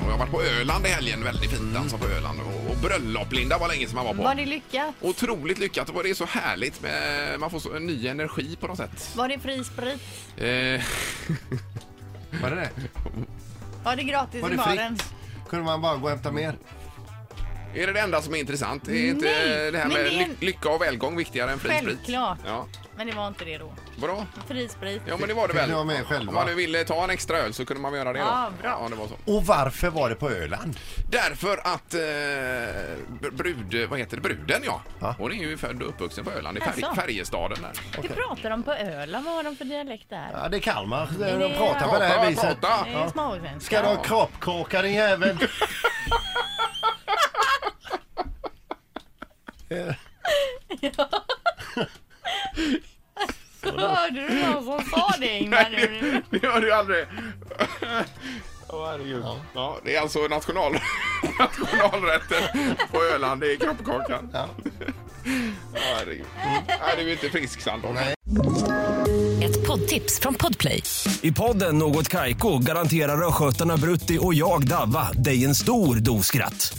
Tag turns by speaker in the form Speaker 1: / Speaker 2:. Speaker 1: Jag har varit på Öland i helgen, väldigt fint dansa på Öland. Och, och bröllop, Linda, var länge sedan man var på.
Speaker 2: Var det lyckat?
Speaker 1: Otroligt lyckat, det var det är så härligt. Med, man får så, en ny energi på något sätt.
Speaker 2: Var det fri sprit?
Speaker 1: Eh,
Speaker 3: Var det det?
Speaker 2: Var det gratis
Speaker 3: Var
Speaker 2: i
Speaker 3: det
Speaker 2: baren?
Speaker 3: fritt? Kunde man bara gå och hämta mer?
Speaker 1: är det det enda som är intressant? Är inte
Speaker 2: Nej,
Speaker 1: eh, det här
Speaker 2: men
Speaker 1: med
Speaker 2: det är en-
Speaker 1: ly- lycka och välgång viktigare än fri sprit?
Speaker 2: Självklart.
Speaker 1: Ja,
Speaker 2: Men det var inte det då.
Speaker 1: bra.
Speaker 2: Fri sprit.
Speaker 1: Ja, men det var det
Speaker 3: Fick
Speaker 1: väl.
Speaker 3: ni vara med
Speaker 1: Om
Speaker 3: själva?
Speaker 1: man nu ville ta en extra öl så kunde man väl göra det då.
Speaker 2: Ja, bra.
Speaker 1: det var så.
Speaker 4: Och varför var det på Öland?
Speaker 1: Därför att eh, br- brud, vad heter det? bruden ja.
Speaker 4: Ja.
Speaker 1: Hon är ju född och uppvuxen på Öland i Färg,
Speaker 2: Alltså.
Speaker 1: Färjestaden där.
Speaker 2: Det pratar de på Öland. Vad har de för dialekt där?
Speaker 4: Ja, det är Kalmar.
Speaker 2: det-
Speaker 4: De pratar på det
Speaker 1: Prata,
Speaker 4: här viset.
Speaker 1: prata.
Speaker 2: Det är småsvenska.
Speaker 4: Ska du ha kroppkaka din jävel? Eh,
Speaker 2: Hörde du någon som sa det Ingmar? nu?
Speaker 1: Det gör du ju aldrig. ja. det är alltså national... nationalrätten på Öland, det är kroppkakan.
Speaker 4: Ja.
Speaker 1: Ja, herregud. Nej, du är inte frisk Sandholm.
Speaker 4: Nej.
Speaker 5: Ett poddtips från Podplay.
Speaker 6: I podden Något Kaiko garanterar östgötarna Brutti och jag, Davva, dig en stor dos skratt.